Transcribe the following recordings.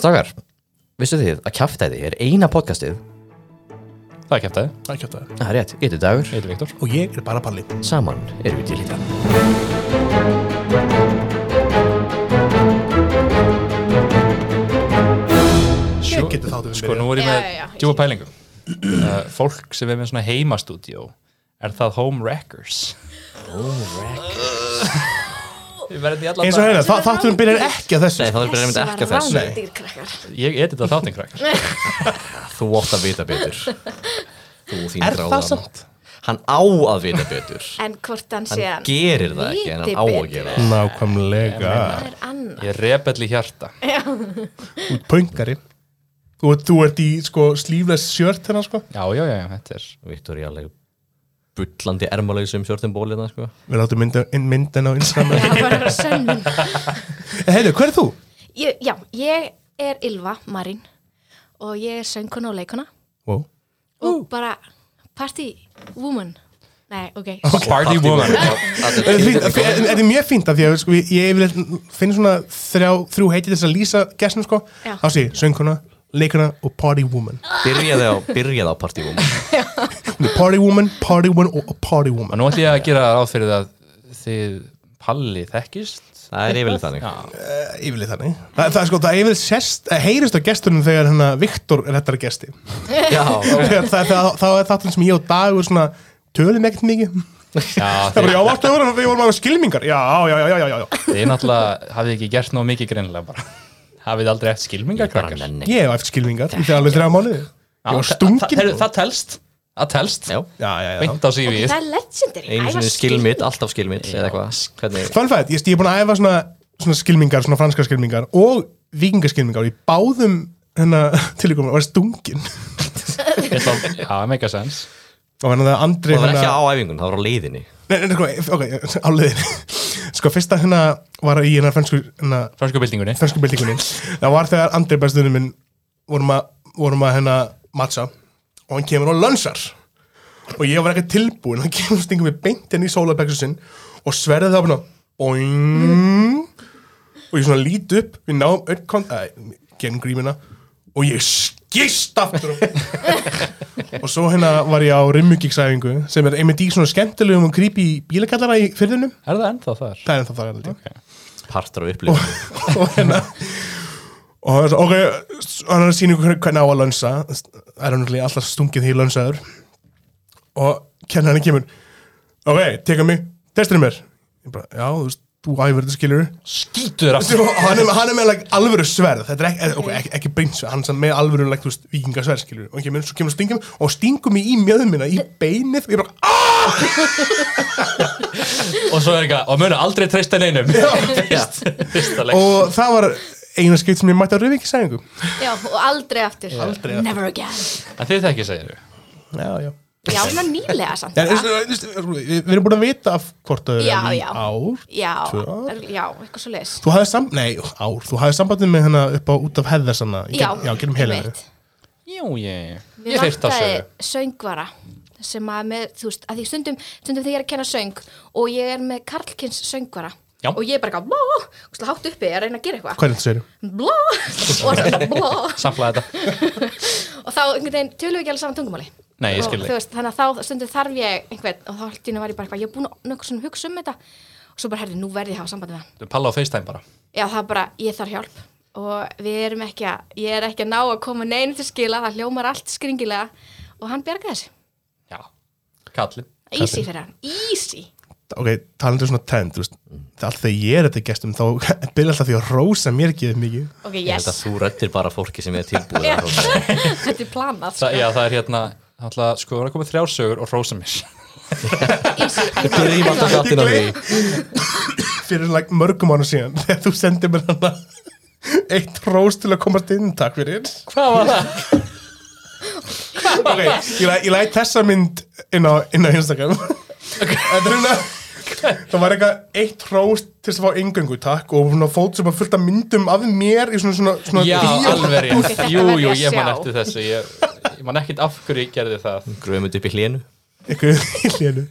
Strákar, vissu þið að kjaftæði er eina podcastið Það er kæftæði, Það er kjöpt aðeins. Það er rétt, ég er dagur ég heiti Viktor Og ég er bara palli. Saman erum við til í það Ég geti þáttum Sko, nú byrjað. er ég með Já, já, já, ég djúpa pælingu uh, Fólk sem er með svona heimastúdíó Er það home wreckers? Home wreckers Eins og hérna, þa- þátturinn byrjar ekki að þessu. Nei, það er bara nefnda ekki að þess Nei. rándýr krakkar. Ég edita þáttinn krakkar Þú ótt að vita betur Þú þín Er það ráðamann. samt? Hann á að vita betur En hvort hann sé Hann gerir það ekki en hann á að Viti gera það. betur. Nákvæmlega. Það er annað. Ég er rebell í hjarta Þú ert pöngari. Þú ert, þú ert í sko slífless sjört hérna sko. Já, já, já, já, þetta er Viktor í alveg bullandi ermalausum sjörtum bólina sko. Við láttum mynda, inn, myndin á Instagram. Það var sönnun. Heiðu, hver er þú? Ég- Já, ég er Ylva Marín og ég er söngkona og leikona Wow. og bara party woman. Nei, ok. Party woman Það Er er fínt- fínt- er- er mjög fínt af því að sko, ég- ég yfirleitt finn svona þrjá, þrjú heiti þess að lýsa gæstum sko. Já. Þá sé ég söngkona, leikona og party woman. Byrjaði á, byrjaði á partíum Hún er Party woman, party woman og party woman. Og nú ætlum ég að gera ráð fyrir það Þið Palli þekkist Það er yfirlega þannig Uh, yfirleitt þannig. Þa, það er sko, það yfirleitt sest, eh, heyrist á gestunum þegar hennar Viktor er þetta gesti. Já, Þegar það, það, það er þáttum sem ég og Dagur svona tölum ekkert mikið. Já, Það þið, bara, já, varstu að vera, við vorum að skilmingar. Já, já, já, já, já, já, já. þið náttúrulega hafið ekki gert nóg mikið greinilega bara Hafið þið aldrei eftir skilmingar bara krakkar nenni Ég hef eftir skilmingar í alveg þrjá mánuði. Ég var það, stungin. það, það telst Það telst Já, Já, já, já. Beint á CV Það er legendary. einu Ævar sinni skilmitt, alltaf skilmitt eða eitthvað, hvernig Fun fact, ég, ég er búin að æfa svona, svona skilmingar, svona franska skilmingar og vikingaskilmingar og í báðum hennar tilíkum var stungin. Ég ætla- Já, make a sense Og hann að Andri Það var ekki hérna- á æfingun, það var á leiðinni Nei, nei, sko, ok, á leiðinni. Sko, fyrsta hérna var í hérna fransku, hérna Fransku byltingunni fransku byltingunni. Það var þegar Andri bestunum minn vorum að, vorum að hérna matcha og hann kemur og lönsar. Og ég var ekki tilbúin, hann kemur og stingum við beint inn í sólabeksu sinn og sverðið það bara boing og ég svona lít upp, við náum öllkont, að, genum grímina og ég skist aftur á og svo hérna var ég á rimmugíksæfingu sem er einmitt í svona skemmtilegum og creepy bílakallara í fyrðinum Er það ennþá þar? það er ennþá það held ég partur á upplifun og hérna og hann er svo, ok, s- hann er að sína ykkur hvernig á að lönsa það er hann alltaf stungið því lönsaður og kennar hann kemur ok, teka mig, testir mér ég bara, já, þú veist, þú æfur þetta skilur Skítur aftur og hann er, hann er með like, alvöru sverð þetta er ekki, eh, ok, ekki, ekki beinsverð hann er með alvöru like, þú veist, vikingasverð skilur og hann kemur, svo kemur og stingum og stingum mig í mjöðumina í beinið og ég bara, Og svo er eitthvað Og munu aldrei treysta neinum Fyrsta leik og það var eina skeitt sem ég mætti á Rövíkisæðingu Já, og aldrei aftur. Aldrei aftur. Never again. En þið þekki segir já, já Já, svona nýlega samt. En, veistu, veistu, við við erum búin að vita af hvort það Já, er í já. ár Já, Tvö ár? já, eitthvað svo leis. Þú hafði sam, nei, ár, þú hafði sambandið með hana upp á út af heðar sanna í Já, gegn- já, gerum helinu einmitt. Jú, ég Mér Ég þyrft á vantaði sögu söngvara sem að með, þú veist, að því stundum, stundum þegar ég er að kenna söng og ég er með karlkins söngvara Já. og ég er bara eitthvað hátt uppi að reyna að gera eitthvað Hvað er þetta sér? blá, og, það- blá, Samflaði þetta og þá einhvern veginn tölum við ekki alveg saman tungumáli Nei, ég Og skil þú þig veist, þannig að þá stundum þarf ég einhvern og þá haldinu var ég bara eitthvað, ég er búin að nokkuð svona hugsa um þetta og svo bara herri, nú verði ég að hafa sambandi við hann Þú palla á FaceTime bara já, það er bara, ég þarf hjálp og við erum ekki að, ég er ekki að ná að koma neinu til skila, það hljómar allt skringilega og hann bjargaði þessi, Já Kallin easy fyrir hann easy Ok, talandi um svona trend, þú veist það er Allt þegar ég er þetta í gestum þá byrja alltaf því að rósa mér ekki mikið Ok, Ég held að yes, þú rættir bara fólki sem er tilbúið Já. að hrósa. þetta er planað Þa, sko. Já, það er hérna Þannig að sko Það er komið þrjár sögur og rósa mér Easy, I Byrjum know, I alltaf know. þáttinn á því Ég Fyrir like, mörgum ára síðan þegar þú sendir mér hana eitt rós til að komast inn, takk fyrir Hvað var það? Ok, ég, læ, ég læt þessa mynd inn á, inn á Instagram Þetta er hérna Það var eitthvað eitt hróst til þess að fá yngöngu takk og svona fót sem var fullt af myndum af mér í svona svona, svona Já, bíó. alveg Ok, rétt þetta Jú, verð ég jú, að ég man sjá. eftir þessu Ég, ég man ekkit af hverju ég gerði það Gröfumund upp í hlénu Eitthvað í hlénu.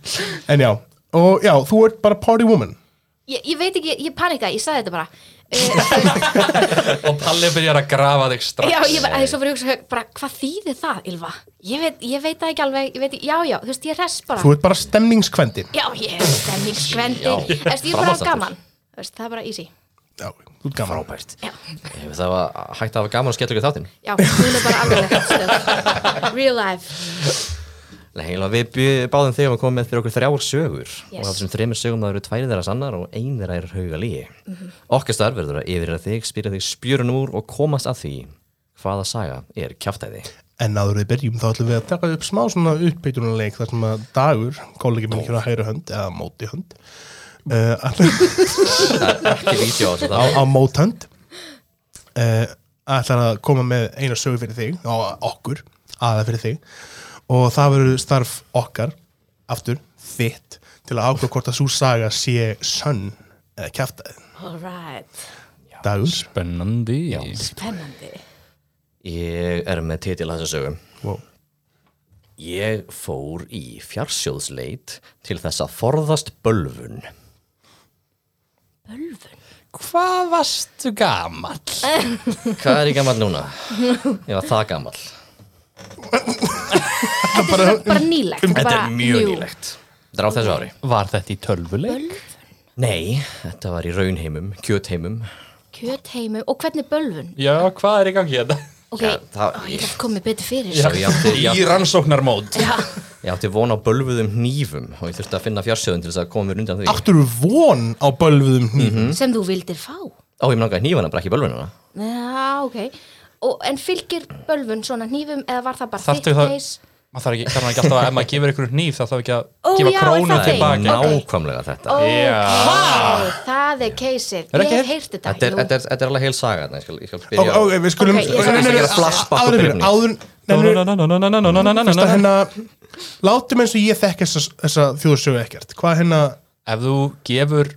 En já, og já, þú ert bara party woman Ég, ég veit ekki, ég panika, ég saði þetta bara Eh, og Palli byrjar að grafa þig strax Já, ég veit, svo fyrir ég að hugsa, bara, hvað þýðir það, Ylva? Ég veit, ég veit það ekki alveg, ég veit, já, já, þú veist, ég res bara. Þú ert bara stemningskvendi Já, ég er stemningskvendi, Já. þú veist, ég er bara Framhaldsþáttur. gaman, þú veist, það er bara easy. Já, þú ert gaman Frábært Ef það var hægt að hafa gaman og skellur ekki þáttinn Já, hún er bara alveg rétt stöð. Real life. Nei, eiginlega, við bjö- báðum þig um að koma með fyrir okkur þrjár sögur og Yes. það sem þreymur sögum það eru tvær þeirra sannar og ein þeirra er hauga lígi Mhm. Okkar starf verður að yfirra þig, spýra þig spjörun úr og komast að því hvaða saga er kjáftæði En áður við byrjum þá ætlum við að taka upp smá svona uppbytunarleik þar sem að dagur, kollegi minn hérna hægri hönd eða móti hönd uh, ætlar- Ekki vídeo á þessu á, það á mót hönd uh, ætlar að koma með eina sögu fyrir þig á okkur, aða fyrir þig og það verður starf okkar aftur, þitt til að ákveða hvort að svo saga sé sönn eða kjæftæði All right. dagur Spennandi Spennandi. Ég er með titil að þessu sögum wow. Ég fór í fjársjóðsleit til þess að forðast bölvun Bölfun. Hvað varstu gamall? Hvað er ég gamall núna? Ég var það gamall Þetta er svona bara nýlegt. um- Þetta bara er mjög new. nýlegt Þetta er á þessu ári Var þetta í tölvuleik? Nei, þetta var í raunheimum, kjötheimum Kjötheimum, og hvernig bölfun? Já, hvað er í gangi hérna? þetta? Ok, Já, það- Ó, ég hef komið betur fyrir. Svo ég átti, ég átti, rannsóknarmót Já. ég átti von á bölvuðum hnífum og ég þurfti að finna fjársjóðin til þess að koma mér undan því Áttur von á bölvuðum hníf Sem þú vildir fá. Ó, ég langaði hnífana, bara ekki bölvunina Já, ok. Og, en fylgir bölfun svona hnífum eða var það bara Þarftu þitt það- case? Maður þarf ekki, þarf hann ekki alltaf að ef maður gefur ykkur nýf þá þarf ekki að Ó, gefa já, er krónu það Það er tilbaka þeim? Ok. nákvæmlega þetta Ó, Já. það er caseið. Er Ég ekki- hef heyrt þetta. Þetta er, jú. þetta er, þetta er alveg heil saga þarna, ég skal, ég skal Ó, byrja ó, við skulum Ok, ég skal- Nei, nei, nei, Ég skal flashback áður og en- byrjun. áður nei, nei, nei, Fyrst að Ef hérna Látum eins og ég þekk þessa, þessa þjóðsögu ekkert Hvað hérna þú gefur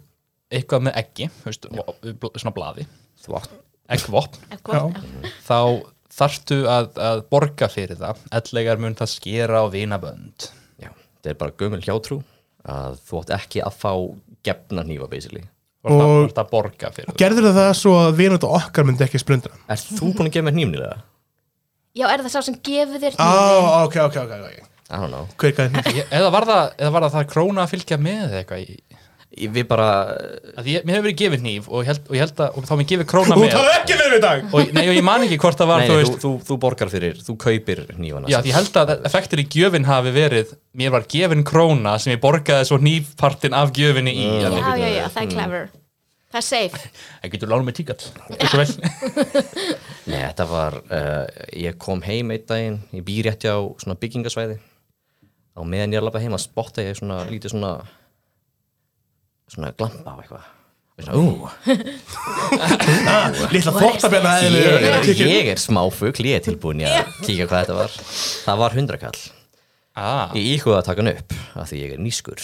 eitthvað með eggi veist, og- bl- svona blaði, Þú átt eggvopn Eitthvað. þá þarftu að, að borga fyrir það ellegar mun það skera á vinabönd Já, þetta er bara gömul hjátrú að þú átt ekki að fá gefna hnífa, basically. og það Og- vart að borga fyrir það Gerður það svo að vinut og okkar myndi ekki splundra Er þú búin að gefa mér hnífnilega? Já, er það sá sem gefur þér Á, hnífinn? ok, ok, ok, ok I don't know. Hver gæði hérna? Ég- eða var það, eða var það, það króna að fylgja með eða eitthvað í- Ég- Við bara, að ég, mér hefur verið gefið nýf og ég held, og ég held að og þá mér gefið króna Þú með talar ekki við mig í dag og, nei, og ég man ekki hvort það var nei, þú þú, veist, þú, þú borgar fyrir, þú kaupir hnífana. já, því ég held að effektur í gjöfin hafi verið mér var gefin króna sem ég borgaði svo nýfpartin af gjöfinni í Já, mm. já, já, það er clever. Það er safe. en getur lánum með tíkall Gjörðu svo vel. Nei, þetta var, uh, ég kom heim einn daginn, ég býr rétti á svona byggingasvæði. Á meðan ég er að lappa heim að spotta ég svona, lítið svona, svona glampa á eitthvað. Og ég Svona, ú, Lilla þvóttabjörna ég er, ég er smáfugl, ég er tilbúin í að kíka hvað þetta var. Það var hundrakall. ah, Ég íhuga að taka hann upp af því ég er nýskur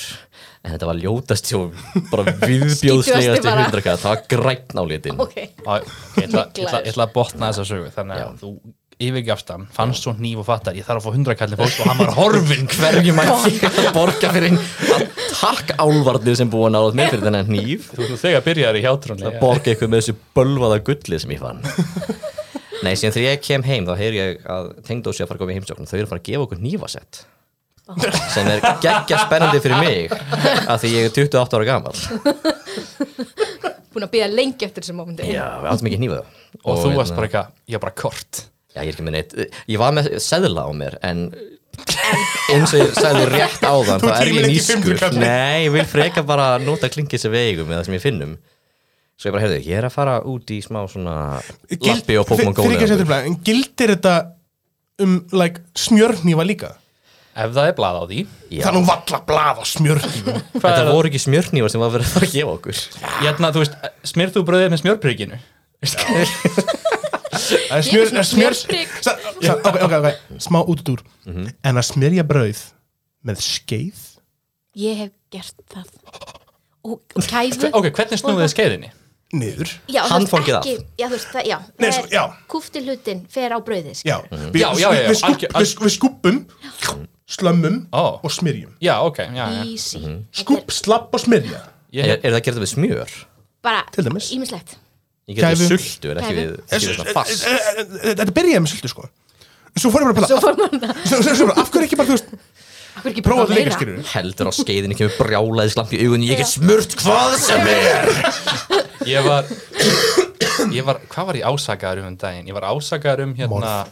en þetta var ljótast og bara viðbjóðslegast í bara. hundrakall það var græn á litin Ok. á, ég, ætla, ég, ætla, ég ætla að botna þessa sögu þannig að þú yfirgafst hann fannst svo nýf og fattar, ég þarf að fá hundrakallin fólk og hann var horfin hverjum að ég að borga fyrir að takk álvarnir sem búið að náða mér fyrir þennan hníf þú, þú þegar byrjar í hjátrúnni að borga eitthvað með þessu bölvaða gulli sem ég fann Nei, síðan þegar ég kem heim þá heyr ég að tengdósi að fara að koma í heimsókn þau eru að fara að gefa okkur hnífasett sem er geggja spennandi fyrir mig af því ég er 28 ára gamall Búin að býða lengi eftir þessum mómundi. Já, við áttum ekki hnífa og þú hérna- varst bara eitthvað, ég var bara kort Já, ég er ekki með neitt. Ég var með seðla á mér, en eins og ég sagði rétt á þann, Þú þá er kemur ég ekki í nýskur. fimmtugallinn. Nei, ég vil freka bara nota klingið sem vegum með það sem ég finnum. Svo ég bara, heyrðu, ég er að fara út í smá svona lappi og Pokémon Go. Fyrir ekki að setja leiðangur. blæð En gildir þetta um, like, smjörnýfa líka? ef það er blað á því Já. Það er nú valla blað á smjörnýfum Hvað er Þetta voru ekki smjörnývar sem var verið að fara að gefa okkur. Ég held að, þú veist, eh, smyrð þú bröðið með smjörprikinu? Það er smjör, það er smjör Smjörprikk. Sa- sa- Ok, ok, ok Smá út úr Mhm. En að smyrja brauð með skeið Ég hef gert það. Og, og kæfu. Ok, hvernig snúðið þið skeiðinni? niður Já, þú veist, Handfangið ekki- Já, þú veist, það, já. Nei, það sko, er- já. Kúfti hlutin fer á brauðið, sko. Já, við, Já, já, já, já, við, algjör- skúb, við, við skúpum, slömmum Ó. og smyrjum Já, ok, já, já. Easy. Þetta er Sko, Skúpp, slapp og smyrja Er, Ég, er það að gera þetta með smjör? Bara Til dæmis. ímislegt. Ég get við Gæfu. sultu, er ekki Gæfu. við skilur svona fast Eh, Þetta byrjaði með sultu sko En Svo fór ég bara að Svo pæla fór maður að svo- svo- svo bara, Af hverju ekki bara, þú veist, Akkur ekki prófa þetta meira? líka skilur Heldur á skeiðinu kemur brjálaði slampi í augun Ég get smurt hvað sem er Ég var, ég var, hvað var ég ásakaður um um daginn? Ég var ásakaður um hérna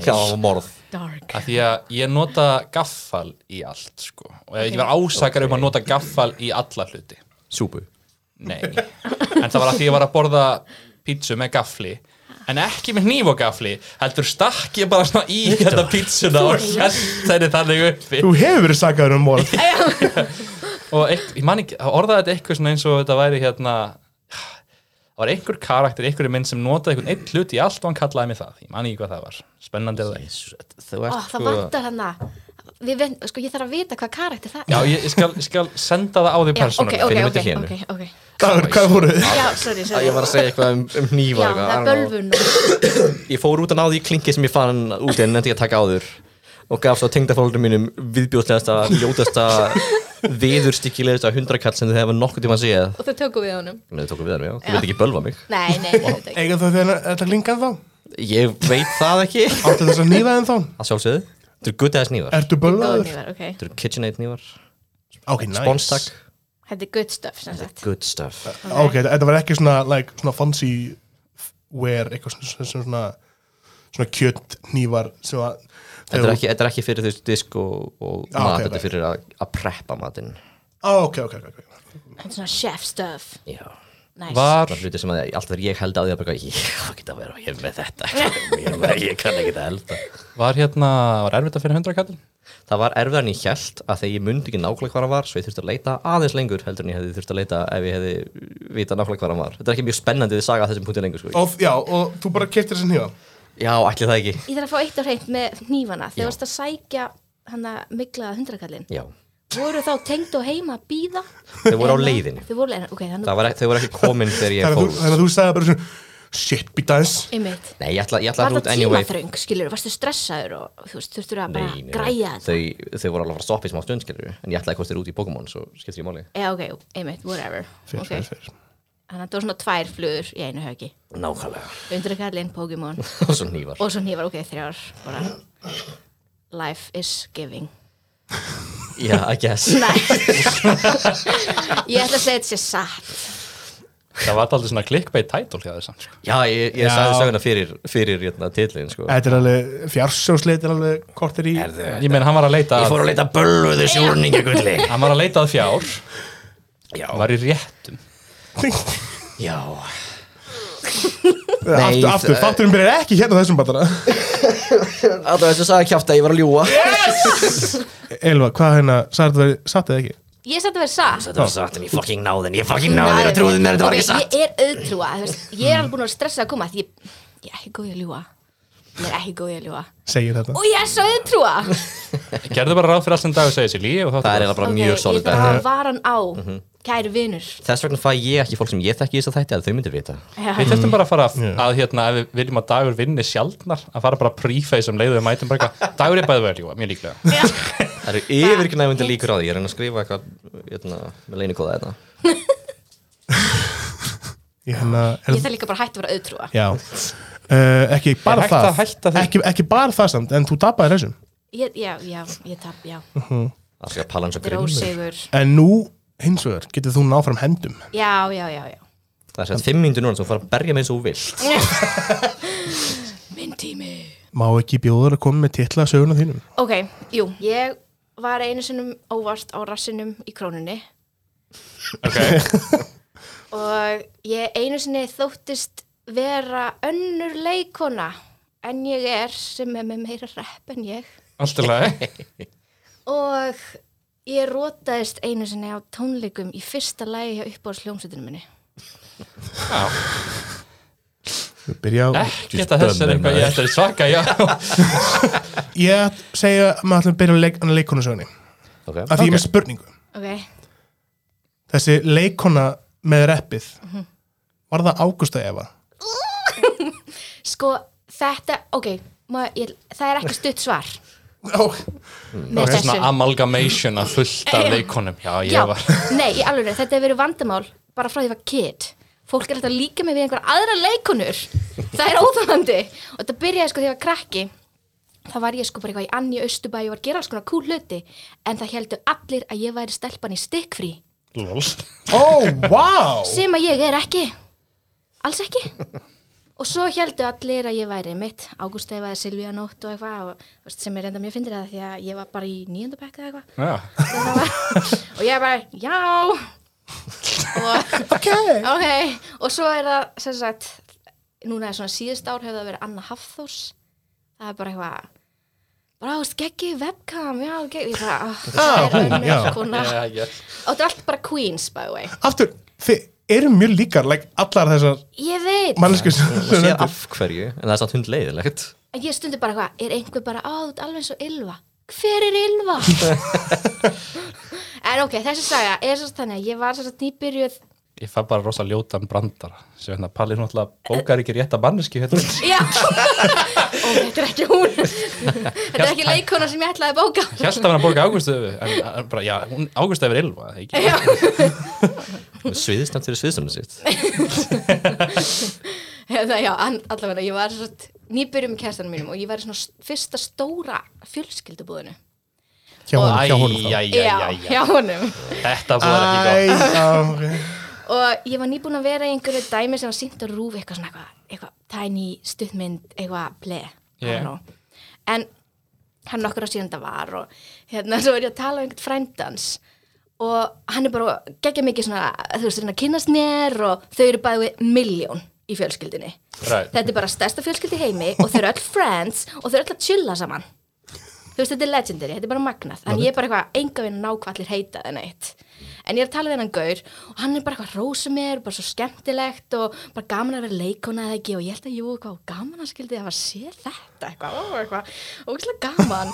Já, morð Dark að því að ég nota gaffal í allt sko. og ég var ásakaður um að nota gaffal í alla hluti Súpu Nei, en það var að því ég var að borða pítsu með gafli en ekki með hníf og gafli heldur stakk ég bara svona í hérna pítsuna og held henni þannig uppi Þú hefur verið sakaður um morð og eitt, ég man ekki, það orðaði þetta eitthvað svona eins og þetta væri hérna það var einhver karakter, einhver minn sem notaði einhvern einn hlut í allt og hann kallaði mig það ég man ekki hvað það var, spennandi er það ekki. Þú Ó, ert það sko vantar hann að Við ven- Sko, ég þarf að vita hvað karakter það Já, er ég, ég, skal, ég skal senda það á því ok, persónulega ok, finnum ok, þetta hér ok, ok Dagur, hvað voru þið? Já, sorry, Að sorry Ég var að segja eitthvað um, um Já, hnífa það er bölvun og- Ég fór út að náði í klingi sem ég fann út en nefndi ég að taka áður og gaf svo tengdafólknum mínum viðbjóðslegasta, ljótasta viðurstykkilegasta hundrakall sem þið hefa nokkuð tíma að segja Og þau tökum við honum Nei, þau tókum við hann, já, þú veit ekki bölva mig Nei, nei, nei, nei Eiga þau þegar þetta klingan þá? Ég veit það ekki Áttu þess að nýfa þeim þá? Það sjálfsögðu Þetta eru good ass nývar Ertu Góðan bölvaður? yfir, ok Þetta eru KitchenAid nývar Ok, næs Bonstak Þetta er good stuff, sem sagt Good stuff Ok, þetta- þetta var ekki svona, like, svona fancy wear, eitthvað svona, svona, svona, svona kjött nývar sem að Þetta er ekki, þetta er ekki fyrir þess disk og, og Já, mat ok, Þetta ok. er fyrir að, að preppa matinn Á, Ah, ok, ok, ok, ok Þetta er svona chef stuff Já Nice. Var, Það er hluti sem að alltaf þegar ég held að því að bara Ég hvað get að vera, ég er með þetta Ég, er með, ég kann ekki þetta elda var hérna, var erfitt að finna 100 kallin? Það var erfiðar en ég held að þegar ég mundi ekki nákvæmlega hvað hann var svo ég þurfti að leita aðeins lengur heldur en ég hefði þurfti að leita ef ég hefði vita nákvæmlega hvað hann var Þetta er ekki mjög spennandi við saga að þessum punkti lengur sko. Og, já, og þú bara keftir þessi nýfa Já, ætli það ekki Ég þarf að fá eitt á hreint með hnífana Já. Þegar varst að sækja hann að miklaða hundrakallin Já, Voru þá tengd og heima að býða? þau voru á leiðinni Þau voru leiðin, ok, þannig Það var, ekki- þau voru ekki komin þegar ég Þannig að fór þú- þannig að þú sagði bara svona Shit, býta eins Einmitt Nei, ég ætla, ég ætla Var að það hrút anyway tímaþröng, skilur, varstu stressaður og þú veist, þurftur að bara Nei, nei, græja þetta þau, þau voru alveg að fara að stoppa í smá stund skilur en ég ætlaði hvort þeir út í Pokémon svo skiptir ég máli Já, ok, einmitt, whatever Fyrir, okay. fyrir, fyrir Þannig að það var svona tvær flugur í einu höggi Nákvæmlega Undrakallin, Pokémon og og svo nývar svo nývar, ok, þrjár bara. Life is giving Já, I guess Nei Ég ætla að segja þetta sé satt Það var aldrei svona clickbait title hjá sko. þess að Já, ég, ég Já. sagði söguna fyrir, fyrir hérna, titlin sko Þetta er alveg, fjársjóðsleit er alveg kortir í Erðu Ég meina, hann var að leita Ég að, fór að leita bölvuðu sjúrningagulli hann var að leita að fjár Já, var í réttum já Nei, Aftur, aftur, það- þátturinn byrjar ekki hérna á þessum bara Það var þess að sagði kjáft að ég var að ljúa Elva, hvað hérna, sagði þetta verið satt eða ekki? Ég sagði þetta verið satt Þetta var satt en ég fucking náði en ég fucking náði þér og trúði mér þetta var ekki Ok, satt Ég er auðtrúa, þú veist, ég er alveg búin að vera stressað að koma Því ég, ég er ekki góð í að ljúa Ég er ekki góð í að ljúa Segir þetta Og ég er svo auðtrúa Gerðu bara ráð fyrir allt sem dagur segir sér líi og Það er eiginlega þáttu bara Ok, mjög Ég Ah. solid Mhm. þarf að vara hann á, kæri vinur Þess vegna fæ ég ekki fólk sem ég þekki í þess að þætti að þau myndir vita Við þurfum bara að fara að, að hérna, ef við viljum að dagur vinni sjaldnar að fara bara að preface um leiðu við mætum bara eitthvað Dagur er bæðið verið ljúa, mjög líklega Já. Það Ah, eru yfirgnæfundi líkur á því, ég er að reyna að skrifa eitthvað hérna, með leinikóða þetta Ég hérna, Ég er þarf líka bara hægt að vera auðtrúa Já Uh, ekki bara hægt að hætta það því? ekki, ekki bara það samt, en þú tapaði þessum Ég, já, já, ég tap, já. Það skal pala hans og Þetta er grimmur ósegur. en nú, hins vegar, getur þú náfram hendum Já, já, já, já. Það er sett fimm myndir núna sem þú fara að berja með eins og þú vilt Minn tími. má ekki bjóður að koma með titla söguna þínum Ok, jú, ég var einu sinnum óvart á rassinum í krónunni okay. og ég einu sinni þóttist vera önnur leikona en ég er sem er með meira rep en ég Allt er lagi og ég rótaðist einu sinni á tónleikum í fyrsta lagi hjá uppáðsljómsveitinu minni. Já, Við byrja á Ekkert að þess er eitthvað ég ætla að svaka, já Ég ætl- segja að maður ætlum að byrja á leik, leikonu sögni Af því okay. ég er með spurningu Ok, Þessi leikona með reppið Mhm. Var það Ágústa Eva? sko þetta, ok, ma, ég, það er ekki stutt svar. Ó, með Það er þessu. Mm. svona amalgamation að fullta leikonum Já, Já, ég var nei, í alveg, þetta hefur verið vandamál bara frá því að ég var kid fólk er alltaf að líka mig við einhver aðra leikunur það er óþálandi og þetta byrjaði sko þegar ég var krakki þá var ég sko bara eitthvað í anni austubæ og var að gera alls konar kúl hluti en það heldu allir að ég væri stelpan í stikkfrí Lol. Ó, vá! sem að ég er ekki alls ekki og svo heldu allir að ég væri mitt Ágústa eða Silvíja Nótt og eitthvað og, þú veist, sem er enda mjög fyndir það því að ég var bara í nýjöndabekka eða eitthvað Já. Og það var- og ég bara, já og, ok og svo er það sem sagt, núna er svona síðust ár hefur það verið Anna Hafþórs það er bara eitthvað bara ást, geggi webcam, já, geggi ég bara, ah, Ah, það er hún, já. önnur kona Já, já. og þetta er allt bara queens, by the way Aftur, þið eru mjög líkar, like, allar þessar ég veit, manneskjur sem og sem sér nefndir. af hverju en það er samt hund leiðilegt en ég stundi bara eitthvað er einhver bara, á, þú ert alveg eins og Ylva hver er Ylva? en ok, þessi saga er svo þannig að ég var svo nýbyrjuð Ég fæ bara rosa ljótan brandara sem hérna Palli náttúrulega bókar ekki rétta manneski hérna. Já, ó, þetta er ekki hún Þetta er ekki leikona sem ég ætlaði að bóka Hjælt að vera að bóka Ágústu en en bara, já, hún Ágústu hefur Ylva eða ekki. Já, sviðsnæmt fyrir sviðsnæmt sitt Hérna, já, an- allavega, ég var svo nýbyrjum með kæstanum mínum og ég var í svona s- fyrsta stóra fjölskyldubúðinu Hjá honum, Æ, hjá honum þá. já, já, já. hjá honum Þetta búið ekki gott. Æ, já, ok. og ég var nýbúin að vera í einhverju dæmi sem var sínt að rúfi eitthvað svona eitthvað, eitthvað tiny stuttmynd, eitthvað ble Yeah. en hann nokkur á síðan þetta var og hérna svo var ég að tala um einhvern frændans og hann er bara geggja mikið svona, þú veist, reyna að kynnast mér og þau eru bæði miljón í fjölskyldinni Right. þetta er bara stærsta fjölskyldi í heimi og þau eru öll friends og þau eru öll að chilla saman þú veist, þetta er legendary, þetta er bara magnað en ég er bara eitthvað, enga vinn nákvæmlir heita en eitt en ég er að tala við hennan gaur og hann er bara eitthvað rósa mér, bara svo skemmtilegt og bara gaman að vera leikona eða ekki og ég held að jú, eitthvað, gaman að skildi að var sér þetta, eitthvað, ó, eitthvað ógæslega gaman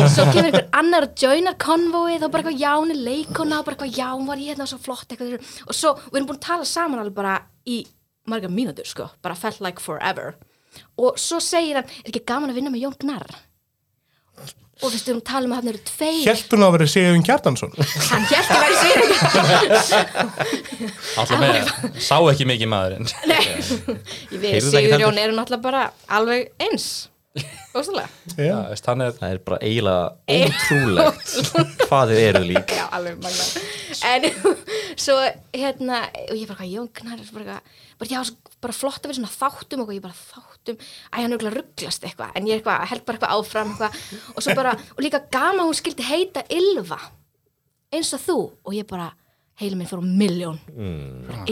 og svo kemur einhver annar og joinar konvóið og bara eitthvað, já, hún er leikona og bara eitthvað, já, hún var ég hérna og svo flott eitthvað og svo, við erum búin að tala saman alveg bara í marga mínútur, sko, bara felt like forever og svo segir hann, er ekki gaman að vinna með Jón Gnarr og við styrum tala um að hann eru tveir Hélt hún að vera Sigurðun Kjartansson? hann hélt að vera sér Alltaf með, sá ekki mikið maðurinn. Nei, ég veit, Heyrðu þetta ekki Sigurjón eru náttúrulega bara alveg eins Óstulega Já, Já. veist, hann er, það er bara eiginlega ótrúlegt hvað þið eru lík Já, alveg magna En svo, hérna, og ég bara hvað, Jón Gnar er bara eitthvað bara, já, svo, bara flott að vera svona þáttum og eitthvað, ég bara þáttum Æ, hann er eitthvað rugglast eitthvað En ég er eitthvað, held bara eitthvað áfram eitthvað Og svo bara, og líka gama hún skildi heita Ylva Eins og þú Og ég bara, heilin minn fór á milljón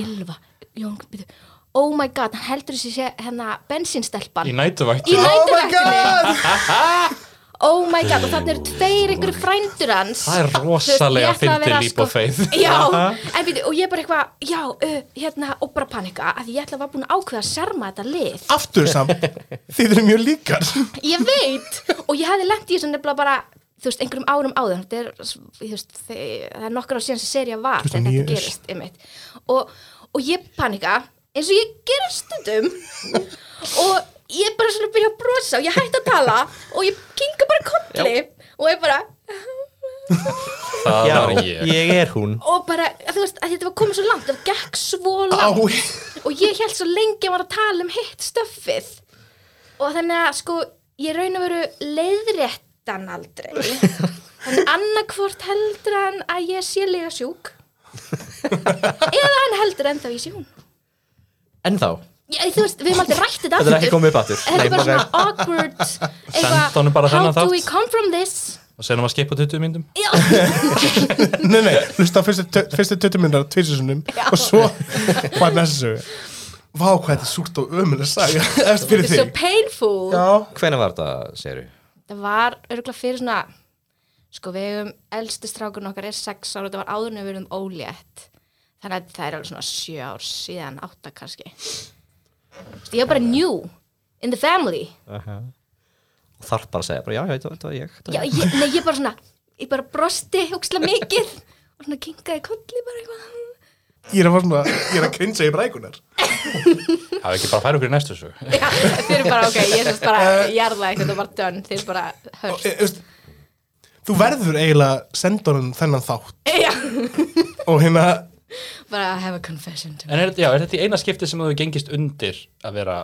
Ylva, Jón, byrju Oh my god, hann heldur þessi sé, hérna, bensínstelpan í nætuvægt. í god! næturvaktinni Oh my god, og þannig eru tveir einhverju frændur hans Það er Þú veist, rosalega ég ætla að fyndið vera, sko. líp og feið. Já, en býtu, og ég bara eitthvað, já, uh, hérna, og bara panika að ég ætla að var búin að ákveða að serma þetta lið Aftur samt, þið eru mjög líkar. Ég veit, og ég hefði lent í þessu nefnilega bara, þú veist, einhverjum árum áður Þetta er, þú veist, þe- það er nokkur á síðan sem serja var þegar 2009 þetta -ish. gerist, einmitt og, og ég panika, eins og ég gerir stundum og ég bara svona byrja að brosa og ég hætti að tala og ég kinga bara kolli og ég bara Það já, var ég. ég er hún og bara, þú veist, að þetta var komið svo langt þetta gekk svo Á, langt og ég held svo lengi að var að tala um hitt stöffið og þannig að sko ég raun að veru leiðréttan aldrei þannig annarkvort heldur hann að ég sé lega sjúk eða hann heldur ennþá ég sé hún en þá, ég, þú veist, við höfum aldrei rætt þetta þetta er ekki aftur. komið upp aftur þetta er bara Nei, svona awkward Senda honum bara eitthvað, þennan how do þátt. we come from this Og senum að skipa 20 myndum. já, nei, nei, hlusta á fyrstu, tö- fyrstu 20 minnara tvísisunum og svo var næsta sögu. Vá, hvað þetta er súrt og ömulega saga, eftir fyrir it's so þig. painful Já, hvenær var þetta, segir það var örgulega fyrir svona sko við hefum elsti strákun okkar er sex ára, þetta var áður en við erum ólétt þannig að það er alveg svona sjö ár síðan átta kannski Veistu, ég var bara new in the family þarf bara að segja, bara, já, já, þetta var- þetta var ég þetta Já, var ég. ég, nei, ég bara svona, ég bara brosti hugsla mikið og svona kinkaði kolli bara eitthvað ég er að fara svona, ég er að krinsa í brækunar. Það er ekki bara að færa okkur í næstu sög. Já, þeir eru bara ok, ég er sérst bara jarða eitthvað og bara done, þeir eru bara hörst E, veist, þú verður eiginlega sendunum þennan þátt Já, og hérna bara I have a confession to En er, þetta- já, er þetta í eina skipti sem þú hefur gengist undir að vera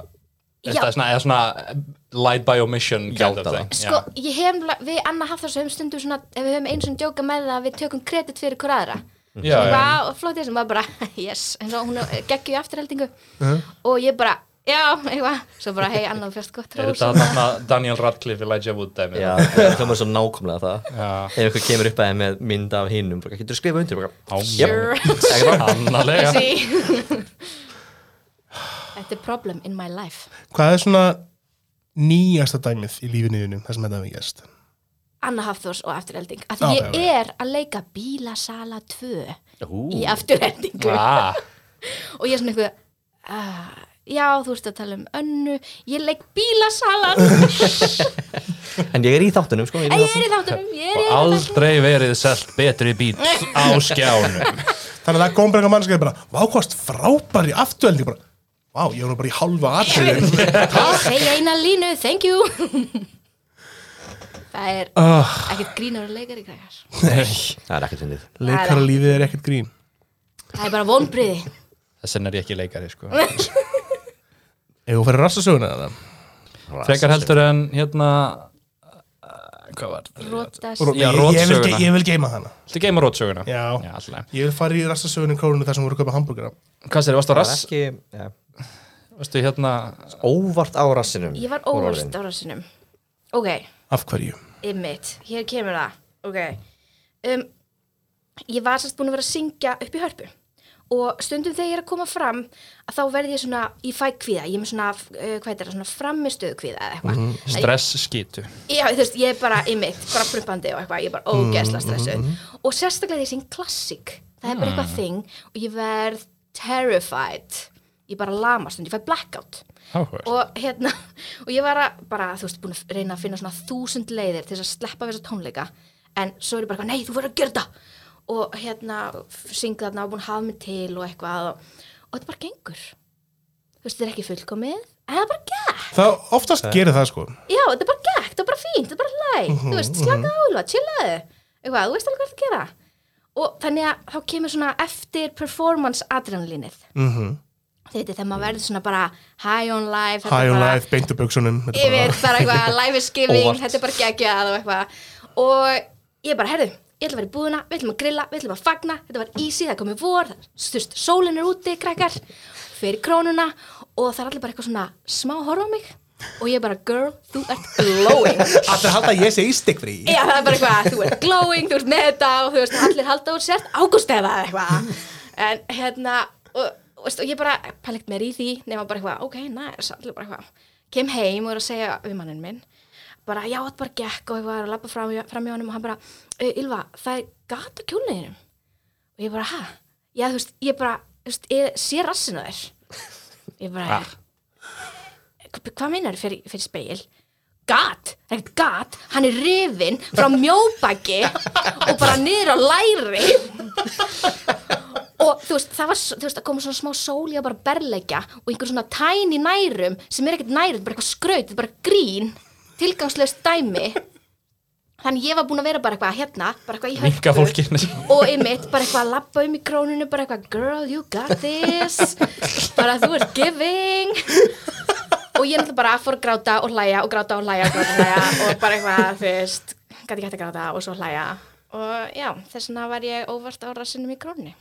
Já. þetta er svona, eða svona light by omission kind of Játa thing. það. Já. Sko, ég hef, nefnilega- við Anna haft þessu um stundu svona, ef við höfum eins og djóka með það að við tökum kredit fyrir hver aðra Já, Svona já. bara, og flótið sem var bara, yes eins og hún geggjum í afturheldingu Uh-huh. og ég bara, já, eitthvað svo bara, hei Anna, þú fyrst gott Er rós þetta þarna Daniel Radcliffe Elijah Wood dæmi? Já, það hljómar svo nákvæmlega það Já. Ef einhver kemur upp að þeim með mynd af hinnum bara, Getur þú skrifað undir? Bara, Á, Sure. Ekki bara, Annarlega. Þetta er problem in my life Hvað er svona nýjasta dæmið í lífinu þínu, það sem þetta hefur gerst? Anna Hafþórs og afturhelding af Já, því já, ég er að leika bílasala 2 Ú. í afturheldingu Ah, og ég er svona eitthvað uh, já, þú ert að tala um önnu ég leik bílasala ég En ég er í þáttunum sko, ég er í er í þáttunum, ég er í og þáttunum aldrei verið selt betri bít á skjánum. Þannig að það kom bara eitthvað mannskæði bara, vákvast frábæri afturveldi, bara, vá, ég var nú bara í halva atriði. ég segja eina línu, thank you það er Ah, ekkert grínur að leika í græjar Það er ekkert fyndið Leikara lífið er ekkert grín. það er bara vonbriði Þess vegna er ég ekki leikari, sko. Ef þú fyrir rassasöguna það, Frekar heldur en hérna, uh, hvað var þetta? rótast Ró- Já, ég, ég, vil, rotsöguna. ge- ég vil geima hana. Þetta geimur rótsöguna. Já. Já, alltaf. leið. Ég vil fara í rassasöguna í krónu þar sem voru að köpa hambúrgara. Hvað sér, varstu Það á er rass? ekki ja, Varstu hérna, Óvart á rassinum ég var voru óvart orðin. á rassinum ok Af hverju? Ymmit, hér kemur það Ok um, Ég var sérst búin að vera að syngja upp í hörpu og stundum þegar ég er að koma fram að þá verð ég svona, ég fæ kvíða ég er með svona, uh, hvað er það, svona framistöðu kvíða eða eitthvað stress skýtu. Já, þú veist, ég er bara ymmit, bara prumpandi og eitthvað, ég er bara ógeðsla stressuð og sérstaklega þegar ég syng klassik það er bara eitthvað þing og ég verð terrified ég bara lamast, stundum, ég fæ blackout Áhverð. og hérna, og ég var að bara, þú veist, búin að reyna að finna svona þúsund leiðir til þess að sleppa við þessa tónleika en svo er ég bara, eitthvað, nei, þú verður að gera þetta og hérna, syngið þarna og búin að hafa mig til og eitthvað og, og þetta bara gengur þú veist, þetta er ekki fullkomið en það er bara gekk, Það oftast gerir það sko. já, þetta er bara gekk þetta er bara fínt, þetta er bara læg, þú veist, slaka á Úlfa, chillaðu, eitthvað, þú veist alveg hvað það gera og þannig að þá kemur svona eftir performance adrenalínið Mm þetta er þegar maður verður svona bara high on life þetta High on bara- life, beintu buksunum. þetta ég er veit bara- bara eitthvað, life is giving Óvart. þetta er bara geggjað og eitthvað og ég bara, herðu, ég ætla að vera í búðina við ætlum að grilla, við ætlum að fagna, þetta var easy það er komið vor, það, styrst, sólin er úti krakkar, fyrir krónuna og það er allir bara eitthvað svona smá horfa á mig og ég bara, girl, þú ert glowing Allir halda að ég sé í stikfrí. Já, það er bara eitthvað, þú ert glowing, þú ert með þetta og þú veist, allir halda úr sért ágúst eða eitthvað. En hérna, og, og, veist, og ég bara pælikt mér í því, nema bara eitthvað, ok, næs, allir bara eitthvað. Kem heim og er að segja við mannin minn, bara, já, þetta bara gekk og eitthvað, er að labba fram, hjá- fram hjá honum og hann bara, "Eh, Ylva, það er gata kjólniðinum. Og ég bara, hæ? Já, þú veist, ég bara, þú veist, ég sé rassinu þér. Ég bara, "Hva- hvað meinar fyrir, fyrir speil? Gat, það er ekkert gat, hann er rifinn frá mjóbaki og bara niður á læri. og þú veist, það var, s- þú veist, að koma svona smá sól í að bara berleggja og einhver svona tæni nærum sem er ekkert nærum, bara eitthvað skraut, þetta er bara grín, tilgangslöst dæmi. Þannig ég var búin að vera bara eitthvað hérna, bara eitthvað í Minka fólkinu. og einmitt bara eitthvað að labba um í króninu bara eitthvað girl you got this bara þú ert giving og ég náttúrulega bara fór að gráta og hlæja og gráta og hlæja og gráta og hlæja og bara eitthvað fyrst gæti ekki hægt að gráta og svo hlæja og já þess vegna var ég óvart á rassinum í króninu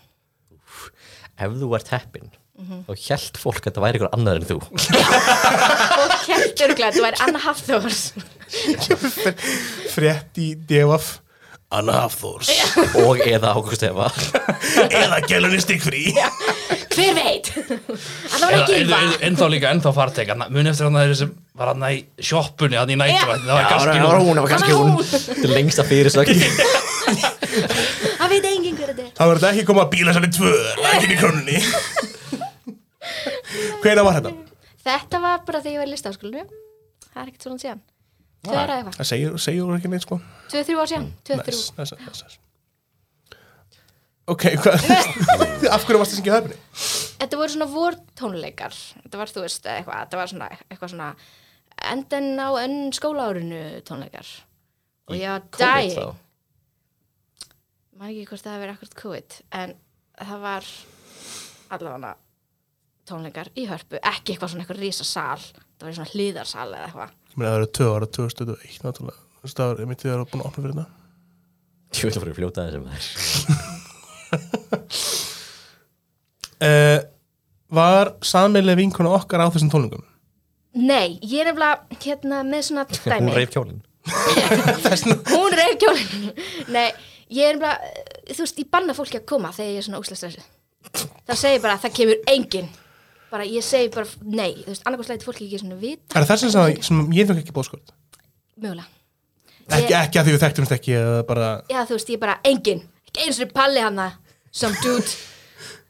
Ef þú ert heppin Þá held fólk að það væri ykkur annað en þú og kertur glæð, þú væri Anna Hafþórs Frétt í devaf. Anna Hafþórs. Og eða Ágúst Efa Eða gælun í stikfrí. hver veit allavega var ekki Ylva Ennþá líka, ennþá farteg. Muni eftir hann að þeirri sem var hann í sjoppunni, hann í nættu. Það var kannski nú. hún, það var kannski hún. Þetta er lengsta fyrirsögn það veit enginn hver þetta er Það verður þetta ekki koma að bíla sæli tvö, lækinn í krónunni. Hvena var þetta? þetta var bara þegar ég var í listaháskólanum það er ekkert svona síðan tvö ára eða eitthvað, Það segir, segir hún ekki neitt sko. tvö þrjú ár síðan tvö þrjú Næs, næs, næs, næs. Ok, hvað? Af hverju varst það syngið höfni? þetta voru svona vortónleikar þetta var þú veist eitthvað þetta var svona eitthvað svona endan á önn skólaárinu tónleikar og ég var COVID dying þá. maður ekki hvort það hafi verið akkurat COVID en það var allavega tónleikar í hörpu, ekki eitthvað svona eitthvað rísasal, það var í svona hlýðarsal eða eitthvað. Ég meina það eru 2 ára, 2001 náttúrulega Þú veist það er mitt þegar það er búin að opna fyrir þetta Ég vil að fara að fljóta þessum þær uh, Var sammeilið vinkona okkar á þessum tónlingum? Nei, ég er nefnilega hérna með svona dæmi. Hún reif kjólinn Hún reif kjólinn. Nei, ég er nefnilega, eh, þú veist, ég banna fólki að koma þegar ég er svona óslega stressu. Það segir bara að það kemur enginn. Bara, ég segi bara, nei, þú veist, annarkvæmst læti fólki ekki svona vita, Er það þess að sem ég fengi ekki bóðskot? mögulega. Ekki, ekki að því við þekktumst ekki eða bara Já, þú veist, ég bara, enginn, ekki eins og palli hann það, some dude,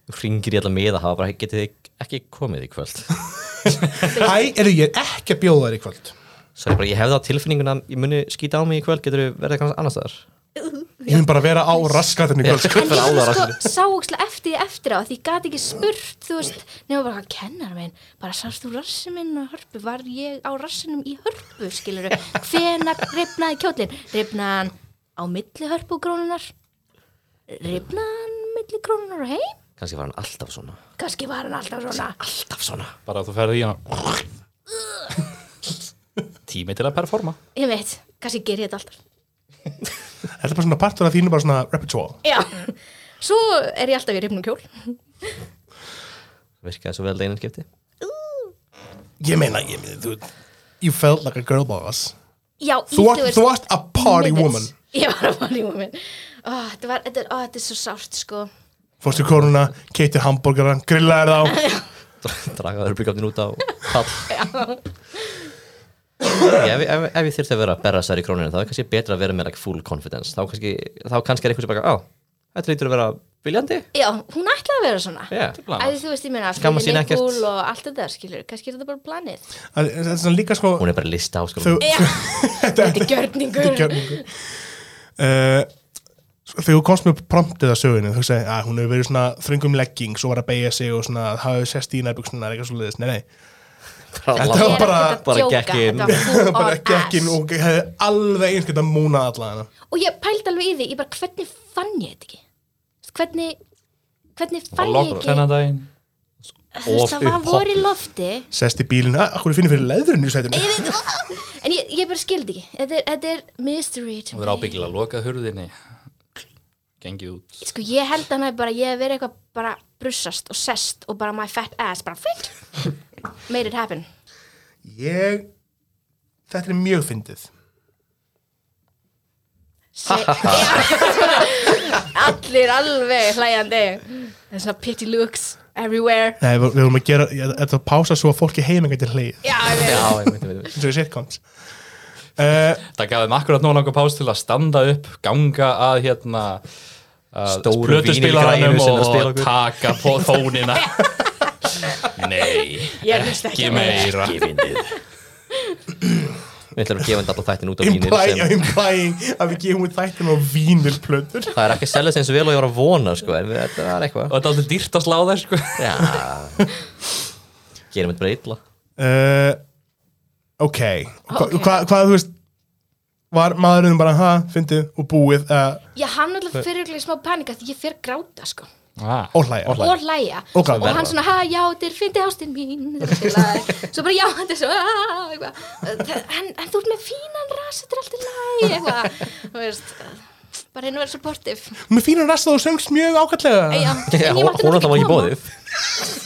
Ringir í alla miða hafa bara getið þið ekki komið í kvöld Æ, er ég er ekki að bjóða þær í kvöld Svo bara ég hefði á tilfinninguna að Ég muni skýta á mig í kvöld, getur þú verið eitthvað annars þar Ég mun bara vera á raskatinni í kvöld sko. En ég var sko sáukslega eftir því eftir á því ég gat ekki spurt, þú veist nema bara hvað kennar minn, bara sást þú rassin minn á hörpu, var ég á rassinum í hörpu, skilur þau, hvenar ripnaði kjólinn, ripnaðan á milli hörpu og krónunar ripnaðan milli krónunar og heim, Kannski var hann alltaf svona kannski var hann alltaf svona Alltaf svona bara þú ferði í hana tími til að performa ég veit, kannski ger ég þetta alltaf Þetta er bara svona partur af þínu bara svona repertoire já, svo er ég alltaf í ripnum kjól Virkaði svo vel það einan skipti Ég meina, ég meina, þú You felt like a girl boss Já, Þú í- ert- þú varst a party minutes. woman. Ég var a party woman Ó, þetta, var, þetta, er, ó, þetta er svo sárt sko Fórstu í koruna, keitir hambúrgaran, grillaðir þá Draga örblikafnin út á pall ef, ef, ef ég þyrfti að vera að berra sér í króninu þá er kannski betra að vera með like, full confidence þá kannski, þá kannski er eitthvað sem bara á, þetta lítur að vera viljandi Já, hún ætlaði að vera svona yeah. Æ, þú veist, ég meina, Skammast sín flugin ekkert. kúl og allt þetta, skilur, kannski er þetta bara planið Það er svona líka sko hún er bara lista á sko Þú- Já, þetta er gjörningur gjörningur uh, Þegar þú komst með promptið að sögunni þú segir að hún hefur verið svona þröngum legging svo var að beigja sig og svona hafið sérst í nærbuksunar eitthvað svo leiðis, nei nei Ég var er Þetta- ekkert bara- að bara djóka, gekk inn. þetta var full bara on ekki ekki ass. og hefði alveg eins geta múna alla hana Og ég pældi alveg í því, ég bara, hvernig fann ég þetta ekki? Hvernig, hvernig og fann ég lokur ekki þennan daginn Þú veist, of það var upp voru í hoppið. lofti sest í bílinn, "Ah, að hún finnir fyrir leðurinn í sætinu Ég veit, ó, En ég, ég bara skildi ekki Þetta er, þetta er mystery to hún me er ábyggilega lokað hurðinni gengið út Sko ég held að hann hafi bara, ég hef verið eitthvað bara brussast og sest og bara my fat ass bara fint made it happen ég þetta er mjög fyndið Se- Allir alveg hlæjandi There's some pity looks everywhere Nei, við við vorum að gera, ég- þetta var að pása svo að fólki heima geti hleið, Já, ég veit Já, ég veit, ég veit, ég veit. eins og í sitcoms uh, það gafum akkurat nóg langa pás til að standa upp ganga að hérna að Stóru plötuspilaranum vínilgræjur sem er að og, spila og okkur. taka på þónina nei, Ég hlust ekki ekki á mig. meira Ekki fyndið. Við ætlum að gefa þetta alltaf þættin út á vínil implying, sem, implying að við gefum út þættin á vínilplötur það er ekki að selja þessi eins og vel og ég var að vona sko, en við- þetta er eitthvað og þetta er alltaf dýrt að slá þær sko Já Gerum þetta bara illa uh, ok, Hva, hva, hvað þú veist var maðurinn bara ha, fyndið og búið uh, Já, hann alltaf fyrir ykkur smá panika því ég fyrir gráta sko ah, og hlæja Hlæja. og hlæja Og gráta. og hann svona, ha, já, þetta er fyndi ástin mín þetta er allt í lagi. svo bara, já, þetta er svo "Ah", eitthvað. Það- en, en þú ert með fínan ras þetta er alltaf læg eitthvað, þú veist bara hérna verið supportive með fínan rast og þú söngst mjög ákvæmlega Já, en ég Hún mátti hún alltaf var náttúrulega ekki bóðið koma.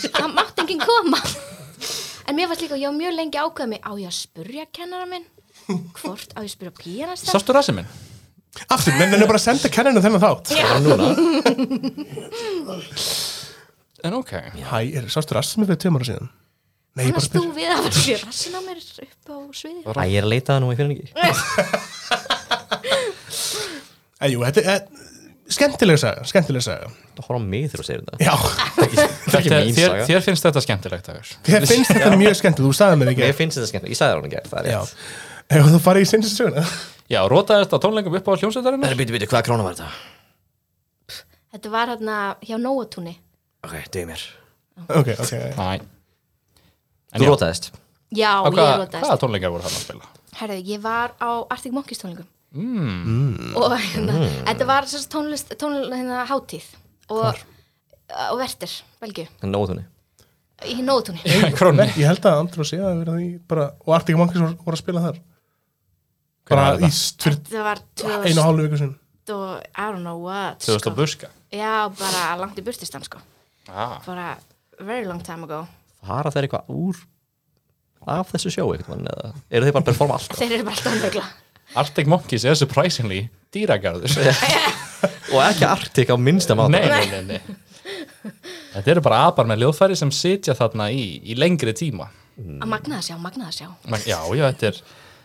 Það mátti enginn koma En mér fannst líka, ég var mjög lengi ákveða mig Á ég að spurja kennara minn Hvort á ég að spurja píanasta sástu rassi minn? aftur, menn er bara að senda kenninu þennan þátt Það var núna en ok hæ, er sástu rast sem er fyrir tveimur ára síðan nei, ég bara Annars þú spyr við að vera sér rassin á mér upp á sviði Æ, ég er að leita það nú, ég finn hann ekki Eh, jú, þetta er eh, skemmtileg saga, skemmtileg saga Það horfa á mig þegar þú segir þetta já, Það er ekki Þetta- mín þér, saga þér finnst þetta skemmtilegt dagur ég finnst þetta mjög skemmtileg þú staðið mér ekki Mér finnst þetta skemmt, ég sagði það hún ekki, það er já, rétt ef þú farið í sinnsins söguna já, rótaðist á tónleikum upp á hljómsveitarinnar Bíti, bíti, hvaða krónu var þetta? Þetta var hérna hjá Nóatúni Ok, duð mér ok, ok, Nei. En Þú já, rótaðist Já, á ég hvað- rótaðist hvaða tónleikar voru hann að spila? Herðu, ég var á Arctic Monkeys tónlingum Mm. mm. og hérna, þetta var sérst tónlist, tónlist hérna, hátíð og og vertir, Belgiu, nótunni í nótunni krónni Ég held að Andrós ég að vera því bara, og Arctic Monkeys voru, voru að spila þar bara Hvenær var í styrt það var einu 2000 og hálfu viku sinn og I don't know what Þú veist sko. að buska já, bara langt í burtistan sko. ah. bara very long time ago fara þeir eitthvað úr af þessu sjó eitthvað eða eru þeir bara að performa alltaf þeir eru bara alltaf andregla Arctic Monkeys er surprisingly dýragarður og ekki Arctic á minnsta máta nei, nei, nei, nei. Þetta eru bara apar með ljóðfæri sem sitja þarna í, í lengri tíma að magna það sjá, magna það sjá Man, Já, já, þetta er,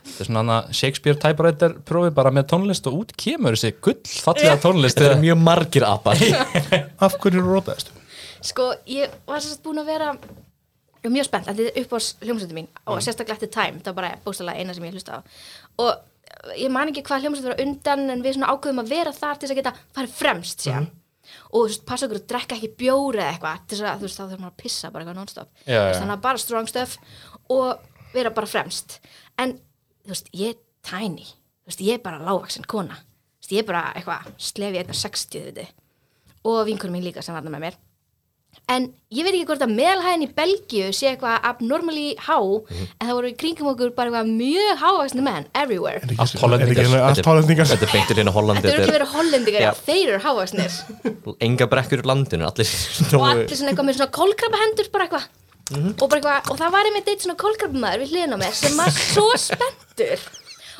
þetta er svona annað Shakespeare typewriter prófi bara með tónlist og út kemur þessi gull fallega tónlist þetta eru mjög margir apar Af hverju eru rótaðist? sko, ég var sérst búin að vera ég var mjög spennt, að þetta er upp á hljómsveitum mín Mm. og sérstaklega eftir Time, það var bara bóstalega eina sem ég hlusta á og ég man ekki hvað hljómsveit var á undan en við svona ákveðum að vera þar til þess að geta farið fremst síðan Mhm. og þú veist, passa okkur að drekka ekki bjóri eða eitthvað til þess að þú veist, þá þurfum maður að pissa bara eitthvað non-stop Já, já. Þú veist, þannig að bara strong stuff og vera bara fremst en þú veist, ég er tiny þú veist, ég er bara lágvaksin kona þú veist, ég er bara eitthvað slefi 1.60 þú veit og vinkunum mín líka sem var þarna með mér en ég veit ekki hvort að meðalhæðin í Belgíu sé eitthvað abnormally há en það voru í kringum okkur bara eitthvað mjög hávaksni menn everywhere Allt hollendingar. Allt hérna- hollendingar þetta er beintur hérna Hollandi þetta eru ekki þetta verið hollendingar, já, Já. þeir eru hávaksnir er enga brekkur í landinu allir og nógu allir svona eitthvað með svona kólkrabahendur bara eitthvað Mhm. og, bara eitthvað, og það var einmitt eitt svona kólkrabamaður við hliðin á mér sem var svo spenntur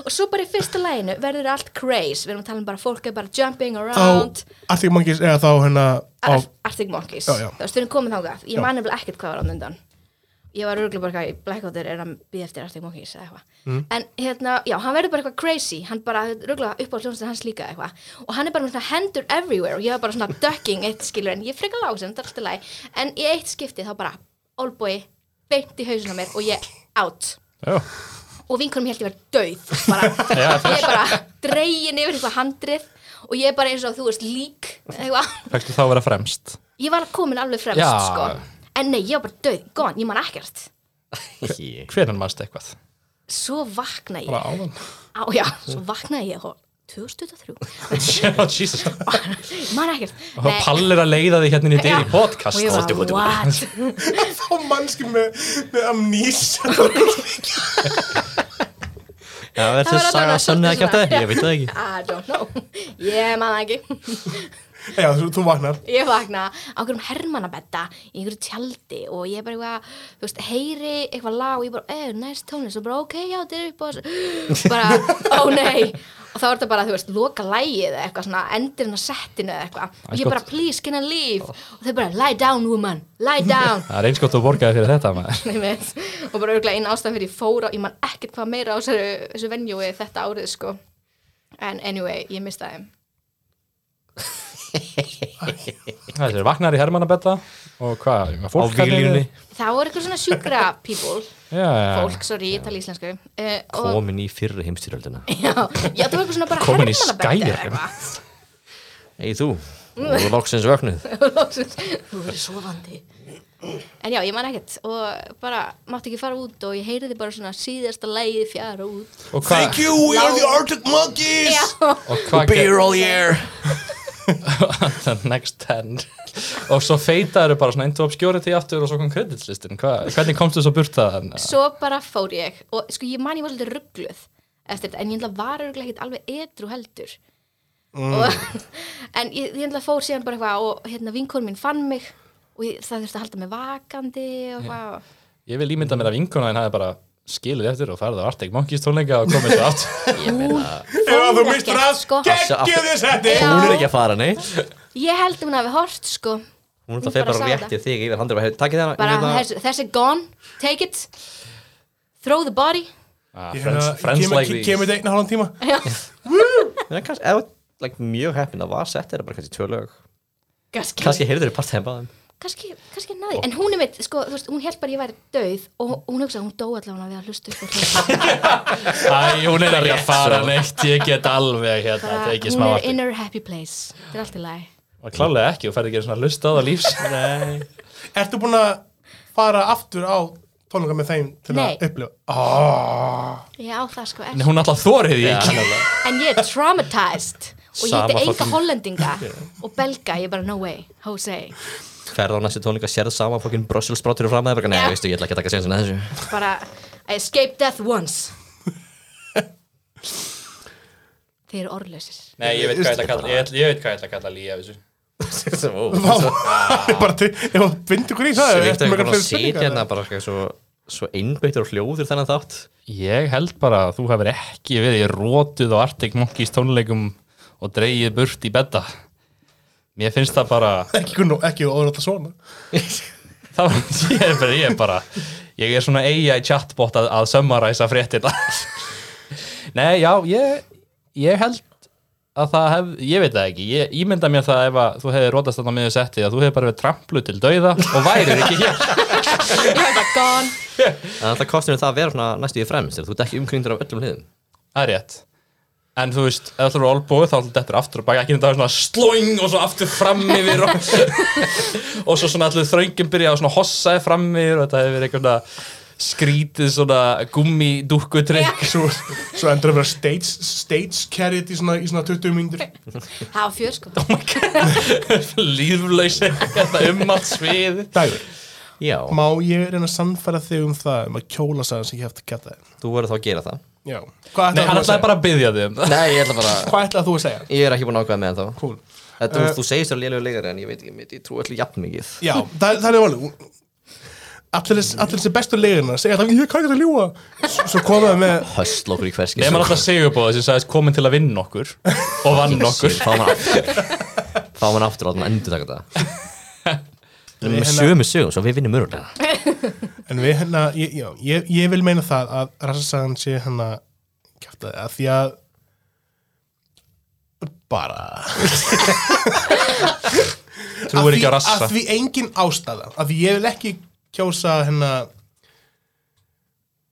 og svo bara í fyrsta læginu verður allt craze við erum að tala um bara fólk er bara jumping á around Arctic Monkeys eða þá hérna á Ar Arctic Monkeys Já, já. þú veist, við erum komið þángað ég Já. man nefnilega ekkert hvað var án undan ég var örgulega bara eitthvað í Blackwater er að býða eftir Arctic Monkeys eða eitthvað Mm. en hérna, já, hann verður bara eitthvað crazy hann bara örgulega upp á hljónstin hans líka eitthvað og hann er bara með svona hendur everywhere og ég var bara svona ducking eitt skilur en ég er frekar lág sem þetta er alltaf læg en í eitt skipti þá bara olbúi beint í hausuna mér og ég out Já. og vinkunum held ég verið döið bara, ég er bara dregin yfir eitthvað handrið og ég er bara eins og þú veist lík eitthvað Fækstu þá að vera fremst Ég var komin alveg fremst, Já. sko. En nei, ég var bara döð, góðan, ég man ekkert. Ég- Hvernig mannst eitthvað? Svo vakna ég, bara áðan á já, svo vakna ég, og 2003, Jesus ég man ekkert. Og pallir að leiða því hérna inn í dyr í podcast Og ég Þetta bara, what? Þá mannski með, með amnís Já, er Það var þessi saga allavega sönni að svolítið kæfta svona. ég veit það ekki I don't know. Ég man það ekki. Já, þú, þú vaknar Ég vakna á einhverjum hermannabetta í einhverju tjaldi og ég bara eitthvað, þú veist, heyri eitthvað lag og ég bara, eh, næst tónlist og bara, ok, já, þetta er upp og þessu. Bara, ó nei. Og þá er þetta bara, þú veist, loka lægið eða eitthvað svona, endurinn á settinu eða eitthvað. Og ég bara, please, can I leave? Og þau bara, lie down, woman, lie down. Það er eins gott að borga þér fyrir þetta maður. Nei, með, og bara örgulega eina ástæðan fyrir ég fór á, ég man ekkert hvað meira á þessu, þessu venjúi þetta árið, sko. En anyway, ég mista þeim. Þetta er vaknar í Hermannabetta Og hvað, með á fólk þarna výlíunni yfir? Það voru eitthvað svona sjúkra people. Já, já, fólk, sorry, ég tala íslensku uh, og komin í fyrri heimstyrjöldina já, já, það var eitthvað svona bara Komin í hermannabetti eða skærin. eitthvað. Ei þú, og loksins vöknuð Loksins, þú verður sofandi en já, ég man ekkert og bara, mátti ekki fara út og ég heyriði bara svona síðasta leið fjara út Og hvað you, we are the Arctic Monkeys já, og hvað ger- all year The next ten Og svo feitaður bara svona into obscurity aftur Og svo kom kreditlistin Hvernig komstu svo burt það? svo bara fór ég og sko, ég man ég var svolítið ruggluð eftir þetta, en ég ætla var örgulega ekkert alveg edru heldur Mm. og, en ég, ég ætla fór síðan bara eitthvað og hérna vinkonum mín fann mig og ég, það þurfti að halda mig vakandi og hvað og Ég vil ímynda mér að vinkona þín hafi bara skilið eftir og farið á Arctic Monkeys tónleika og komið svo aftur Ef að þú fór mistur ekkert, að sko. geggju þess þetta Já. hún er ekki að fara neitt Ég held að hún hafi hort sko hún er það fyrir sá bara réttið þig yfir handrið bara, takkið það Bara hérna- þessi, þessi gone, take it Throw the body ah, Ég Friends, hérna, friends kemur- like ke- these Kemur þetta einu hálfan tíma Já, kannski, eða, like, mjög heppin að var sett er bara kannski tvö lög Kannski, kannski heyrður í partíðan báðum kannski, kannski náði En hún er mitt, sko, þú veist, hún held bara að ég væri dauð Og hún hugsaði, hún dó allavega við að hlusta upp og hlusta Æ, hún er ekki að fara neitt Ég get alveg hérna, Bara, þetta er ekki Hún smá er aftur in her happy place Þetta er allt í lagi Og klálega ekki, þú ferði ekki einu svona lust á það lífs Nei Ertu búin að fara aftur á tónleika með þeim til Nei. að upplifa oh. Já, það sko er Hún alltaf þórið því ekki En ég er traumatized Og ég Sama heiti enga fucking- hollendinga Og belga, ég er bara no way, Jose ferð á næstu tónleika sérð sama fokkin Brussels sprátur og fram að það Já. Nei, veistu, ég ætla ekki að taka sénsinn að þessu bara I escaped death once þeir eru orðlausir Nei, ég veit hvað ég ætla að kalla, ég, ætla- ég veit hvað ég ætla að kalla lí af þessu. Ó, Vá, ég bara til, ef hann bindur ykkur í það Svo er veitum ekki við mjög bara að fyrir sitja spurningar hérna bara eitthvað svo, svo einbeittur og hljóður þennan þátt Ég held bara að þú hefur ekki verið rótuð á Arctic Monkeys tónleikum og dreigið burt í bedda. Mér finnst það bara, ekki kunn og ekki orða svona það, ég, er bara, ég er bara, ég er svona AI chatbot að, að summaræsa fréttina. Nei, já, ég, ég held að það hef, ég veit það ekki, ég ímynda mér það ef að þú hefur rótast þarna miður settið að þú hefur bara verið tramplu til dauða og værið ekki hér. ég hef bara gone En það kostur það að vera svona næstu í fremst Þú ert ekki umkringdur af öllum hliðum Það er rétt En þú veist, ef þú eru olbúið þá ætlum þetta aftur og baka ekki þetta svona slóing og svo aftur fram yfir og, og svo svona allir þröngin byrja að svona hossaði fram yfir og þetta hefur verið einhverna skrítið svona gummidúkkutrykk svo, svo endur að vera stage, stage carried í svona, í svona 20 mínútur það var fjör sko líflaus eitthvað um allt svið dagur, Já, má ég reyna að sannfæra þig um það um að kjóla sagðan sem ég hefði kæta þig þú verður þá að gera það já, hvað Nei, hann ætlaði þú að ætlaði segja? bara að byggja þig um það Nei, ég ætla bara hvað ætlaði þú að segja? Ég er ekki búin að ákvæða með þá Cool. Eh. Þetta, uh, þú segist þér lélega leikari en ég veit ekki mitt, ég trú allir jafn mikið já, það, er- það er alveg allir allir sem bestu leirina segja alltaf ég kann ekki að ljúa S- svo komaðu með Höstl okkur í hverski Nefnir alltaf segurbóða sem sagðist komin til að vinna okkur og vann okkur Fá mann aftur Fá mann aftur og þannig endur taka þetta Við erum Nei, með hérna- sögum með sögum, svo við vinnum örulega en við hérna, ég, já, ég, ég vil meina það að rassasagan sé hérna kæfta þig að því að bara Trúir ekki á Af því- rassa af því engin ástæða af því ég vil ekki kjósa hérna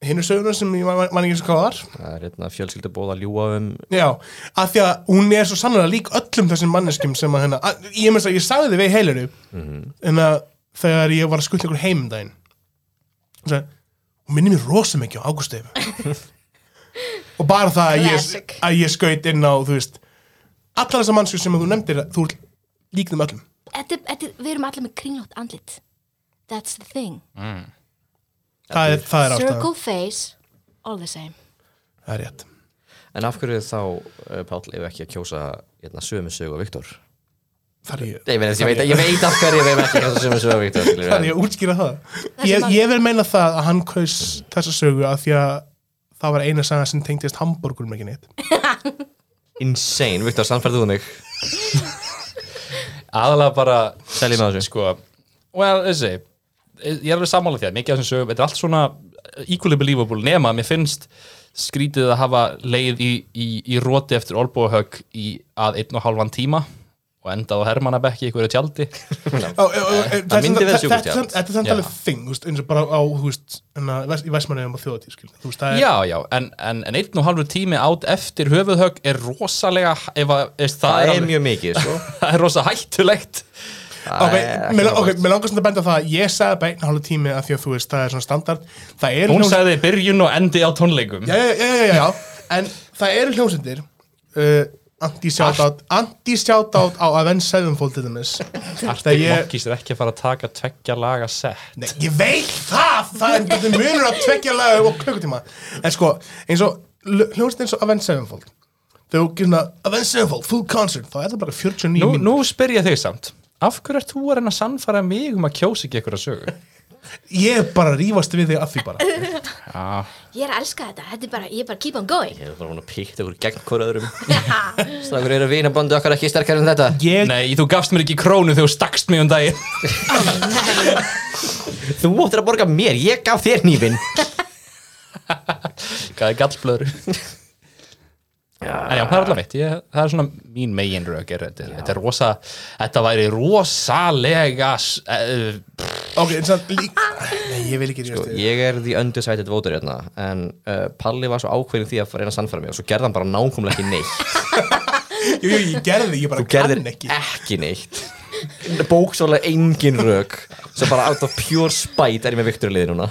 hinn er söguna sem ég man, man- man ekki eins og hvað var Það er hérna fjölskyldu bóð að ljúa um já, af því að hún er svo sannlega lík öllum þessum manneskjum sem að hérna að, ég meins að ég sagði þið við heilir mm að þegar ég var að skuttla ykkur heim um daginn og sagði, hún minni mér rosa mikið á Ágústef og bara það að ég, Classic. að ég skaut inn á þú veist, allar þessar mannskjum sem þú nefndir þú ert lík þeim öllum Þetta- þetta- við erum allir með kringlótt andlit that's the thing það er, það er ástæðan, circle face, all the same það er rétt En af hverju þá, uh, Páll, ef ekki að kjósa hérna, sömu sögu og Viktor? Það er ég Nei, ég veit, ég veit, ég veit af hverju við erum ekki að kjósa sömu sögu og Viktor skilur við, Það er ég að útskýra það. Ég, maður- ég vil meina það að hann kaus þessa sögu að því að það var eina saga sem tengdist hambúrgurum ekki neitt. en Insane, Viktor, samferðu þú mig aðalega bara Seljum á þessu. sko, well, þessi, ég er alveg sammála því að mikið af þessum sögum, þetta er allt svona uh, equally believable nema að mér finnst skrítið að hafa leið í, í, í róti eftir olbúahögg í að einn og hálfan tíma og endað á Hermannabekki í einhverju tjaldi Ó, ó, ó, þetta er myndi samt- vera þetta- sjúkutjald. þetta- Þetta er samt Já. alveg þing, þú veist, eins og bara á, þú veist, hérna, í Vest- í Vestmannaeyjum á þjóðatíð, skil. Þú veist, það er, Já, já, en, en, en einn og hálfur tími átt eftir höfuðhögg er rosalega ef að, eða, það, Það er alveg- mjög mikið, sko það er rosa hættulegt Það ok, er mér ekki lang- ok, nákvæmt. mér langast að benda á það að ég sagði bara einn hálf tími að því að þú veist, það er svona standard. Það er Hún sagði byrjun og endi á tónleikum Já, já, já, já, já, já, en það eru hljómsendir, uh, anti-shoutout, anti-shoutout á Avenged Sevenfold til dæmis. Artig ég- Mokkís er ekki að fara að taka tveggja laga sett Nei, ég veit það, það er þetta er munur að tvekja lagu og klukkutíma En sko, eins og hljóðst eins og Avenged Sevenfold Þegar þú getur svona Avenged Sevenfold, full concert Þá er það bara 49 Nú, mín nú spyr ég þig samt Af hverju ert þú að reyna að sannfæra mig um að kjósa ekki einhverja sögu? Ég er bara að rífast við þig að því bara Já, ég er að elska þetta, þetta er bara, ég er bara keep on going Ég er bara búin að píkta okkur gegn hver öðrum Snakur eru vinabandu okkar ekki sterkar en þetta Ég, Nei, þú gafst mér ekki krónu þegar þú stakst mig um daginn Þú óttir að borga mér, ég gaf þér nýfin Gæði gallblöður En já, það er allaveg mitt ég, Það er svona mín megin rök er, þetta, þetta er rosa Þetta væri rosalega s- eh, ok, eins og líka Nei, ég vil ekki rífast við þig Sko, Ég er því undecided voter hérna En uh, Palli var svo ákveðin í því að reyna að sannfæra mig Og svo gerði hann bara nákvæmlega ekki neitt Jú, jú, ég gerði, ég bara Sko. Þú gerðir kann ekki. ekki neitt Bóksólega engin rök Svo bara out of pure spite er ég með Viktor í liði núna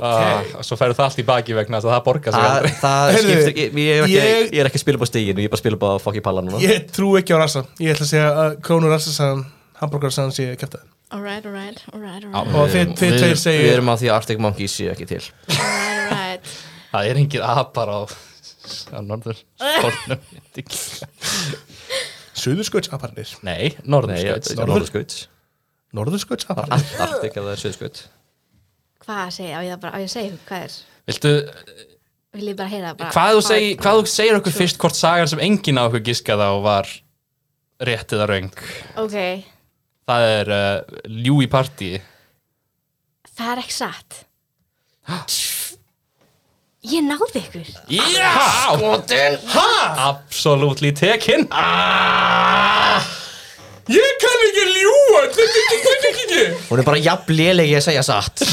ah, Svo færðu það allt í baki vegna þess að það borgar sig Það, aldrei það Heyrðu, skiptir ekki, ég, ég, ég- ég, sko. ég er ekki að spila upp á steginu Ég er bara að spila upp á fokki Palla núna Ég trú ekki á rassa Ég ætla að segja að krónu rassasagan hambúrgar sann sé kæftið Alright, alright, alright, Á, alright, Og þið- þið Við- tveir segið- Við erum á því að Arctic Monkey séu ekki til alright, alright. Það er engin apar á, á norður skólnum. Suðurskautsaparnir Nei, Nei, norðurskjöld. norður- Norðurskaut Norðurskautsaparnir Arctic eða það er Suðskaut Hvað segja, á ég það bara, á ég að segja ykkur hvað er Viltu, Vil ég bara heyra það bara hvað þú, segi, hvað þú segir okkur fyrst hvort sagan sem enginn á okkur giskaði á var rétt eða röng? Ok, Það er uh, ljú í partí. það er ekki satt Ég náði ykkur Já! Skotin! Ha! Absolutely tekin. Ég kann ekki ljúa Þetta er ekki, þetta er ekki Hún er bara jafn lélegi að segja satt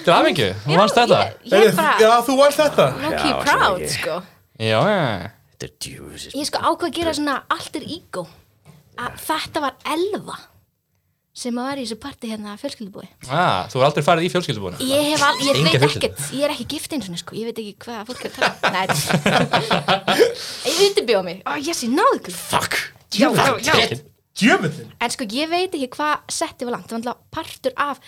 Til aðmengu, hún vannst þetta. Ég, ég er bara, Já, þú varst þetta lucky Já, proud, ekki. sko Já, já. Þetta er djúsis Ég sko ákvað að gera svona alter ego að þetta var elva sem að vera í þessu parti hérna að fjölskyldubúi Ah, þú er aldrei farið í fjölskyldubúinu. Ég hef al, ég Enga veit fjölskyldu. ekkert, ég er ekki gift eins og sko, ég veit ekki hvað fólk er að tala um. Nei, ég undirbjóð mig, ó, yes, ég náði ykkur Fuck Já, já, já Djöfullin En sko, ég veit ekki hvað setti var langt, það var náttúrulega partur af,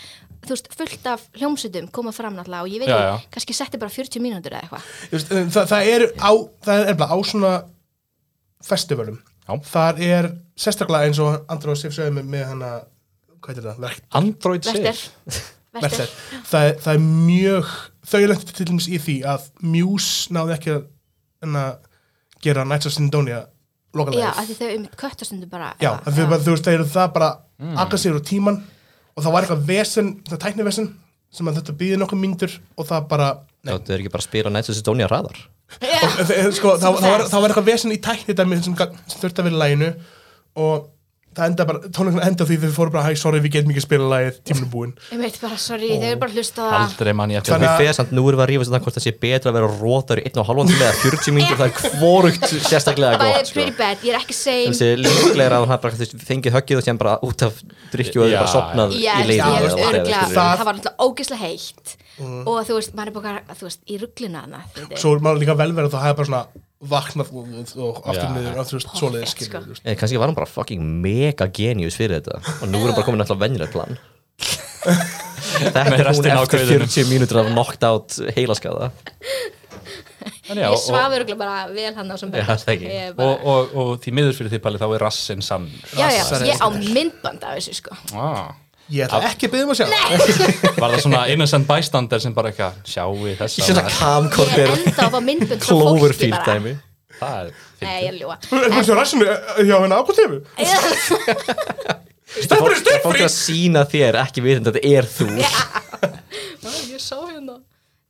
þú veist, fullt af hljómsutum koma fram náttúrulega og ég veit Já, ekki, já. kannski setti bara 40 mínútur eða eitthvað Þa, um, Það er á, það er bara á svona festivalum Já. Þar er sérstaklega eins og Andra og Sif sögðu með, með hana Hvað heitir það? Verk, Android Verster, Sif. verster, verkstæð. það, er- það er mjög Þau er lengt til dæmis í því að Muse náði ekki að hana, gera Nights of Syndonia já, lokalega af því þau um köttastundu bara Já, eitthvað, að þau bara, þú veist, þeir eru það bara mm. aggressíður á tíman og það var eitthvað vesen, það tæknivesen sem að þetta býði nokkuð myndur og það bara nei, Þetta er ekki bara að spila Nights of Sidonia hraðar Já, það, sko, það, það, var, það var eitthvað vesen í tækni dæmi sem, gat- sem þurfti að vera í læginu og það enda bara, tónleikurinn enda á því þau fóru bara, hæ, sorry, við getum ekki að spila lægið, tíminn er búinn ég veit bara, sorry, þau eru bara að hlusta á það Aldrei mann ég eftir Þannig Við að- fyrir samt nú erum við að rífa þetta hvort það sé betra að vera rótar í 1,5 tíma eða 40 mínútur það er kvorugt sérstaklega Það er gott sko. pretty bad, ég er ekki same Þessi líklega að hún hafa bara þú veist, fengið höggið og sem bara út af drikju og Já. bara sopnað Já, í leiðinu ég eða veist, whatever, örgla, skilurðu. Það- það var náttúrulega ógeðslega heitt og þú veist, maður er bara, þú veist, í ruggluna þarna, þetta er Mm. Svo er maður líka velverð og það hefði bara svona vaknað og, og, og aftur Já. niður og þú veist, svoleiðis Perfect, skilur, sko. þú veist Eh, kannski var hún bara fucking mega genius fyrir þetta og nú er hún bara komin alltaf venjulegt plan Þetta Með er hún restina á eftir kauðinum. 40 mínútur af knocked out heilaskaða Þannig já, Ég svaf og, örgla bara vel hann á sem Já, það ekki. Ég er bara- og, og, og því miður fyrir því palið þá er rassinn sannur. Já, já, Rassar ég á myndband af þessu, sko Ah. Ég ætla ekki að byggja um að sjá Var það svona innocent bystander sem bara eitthvað sjáu þess Ég sé það Ég er kamkortir enda á að fá myndbund frá fólki Cloverfield bara dæmi Það er Nei, ég er ljúa Er maður svo rassinu eh, hjá henni ákvæmtefu? Stefnir, Það er fólk að sína þér ekki vitandi að þetta er þú Ég sá hérna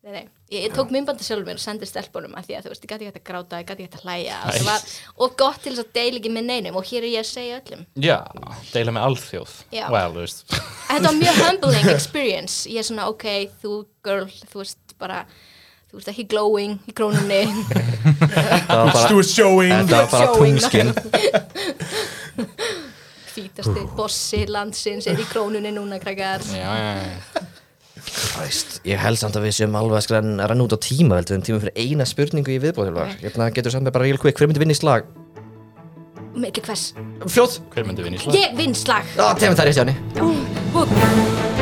Nei, nei, ég, ég tók myndbandi sjálfur mér og sendi stelpunum að því að þú veist, ég gæti ekki hægt að gráta, ég gæti ekki hægt að hlæja og, það var, og gott til þess að deila ekki með neinum og hér er ég að segja öllum Já, deila með alþjóð. Já. Well, þú veist. Þetta var mjög humbling experience Ég er svona, ok, þú girl, þú veist bara þú veist ekki glowing í krónunni Það var bara, Stuart Showing þetta var bara Showing. tungskinn fítasti bossi landsins er í krónunni núna, krakkar Já, já, já. Christ, Ég held samt að við séum alveg að skræn að renna út á tíma veldu um tíma fyrir eina spurningu í viðbóðhjálfar Hérna getur samt með bara real quick, hver myndi vinna í slag? Milli hvers? Fljóð! Hver myndi vinna í slag? Ég vinn slag Á, tegum það er rétt hjá henni Ú, ú.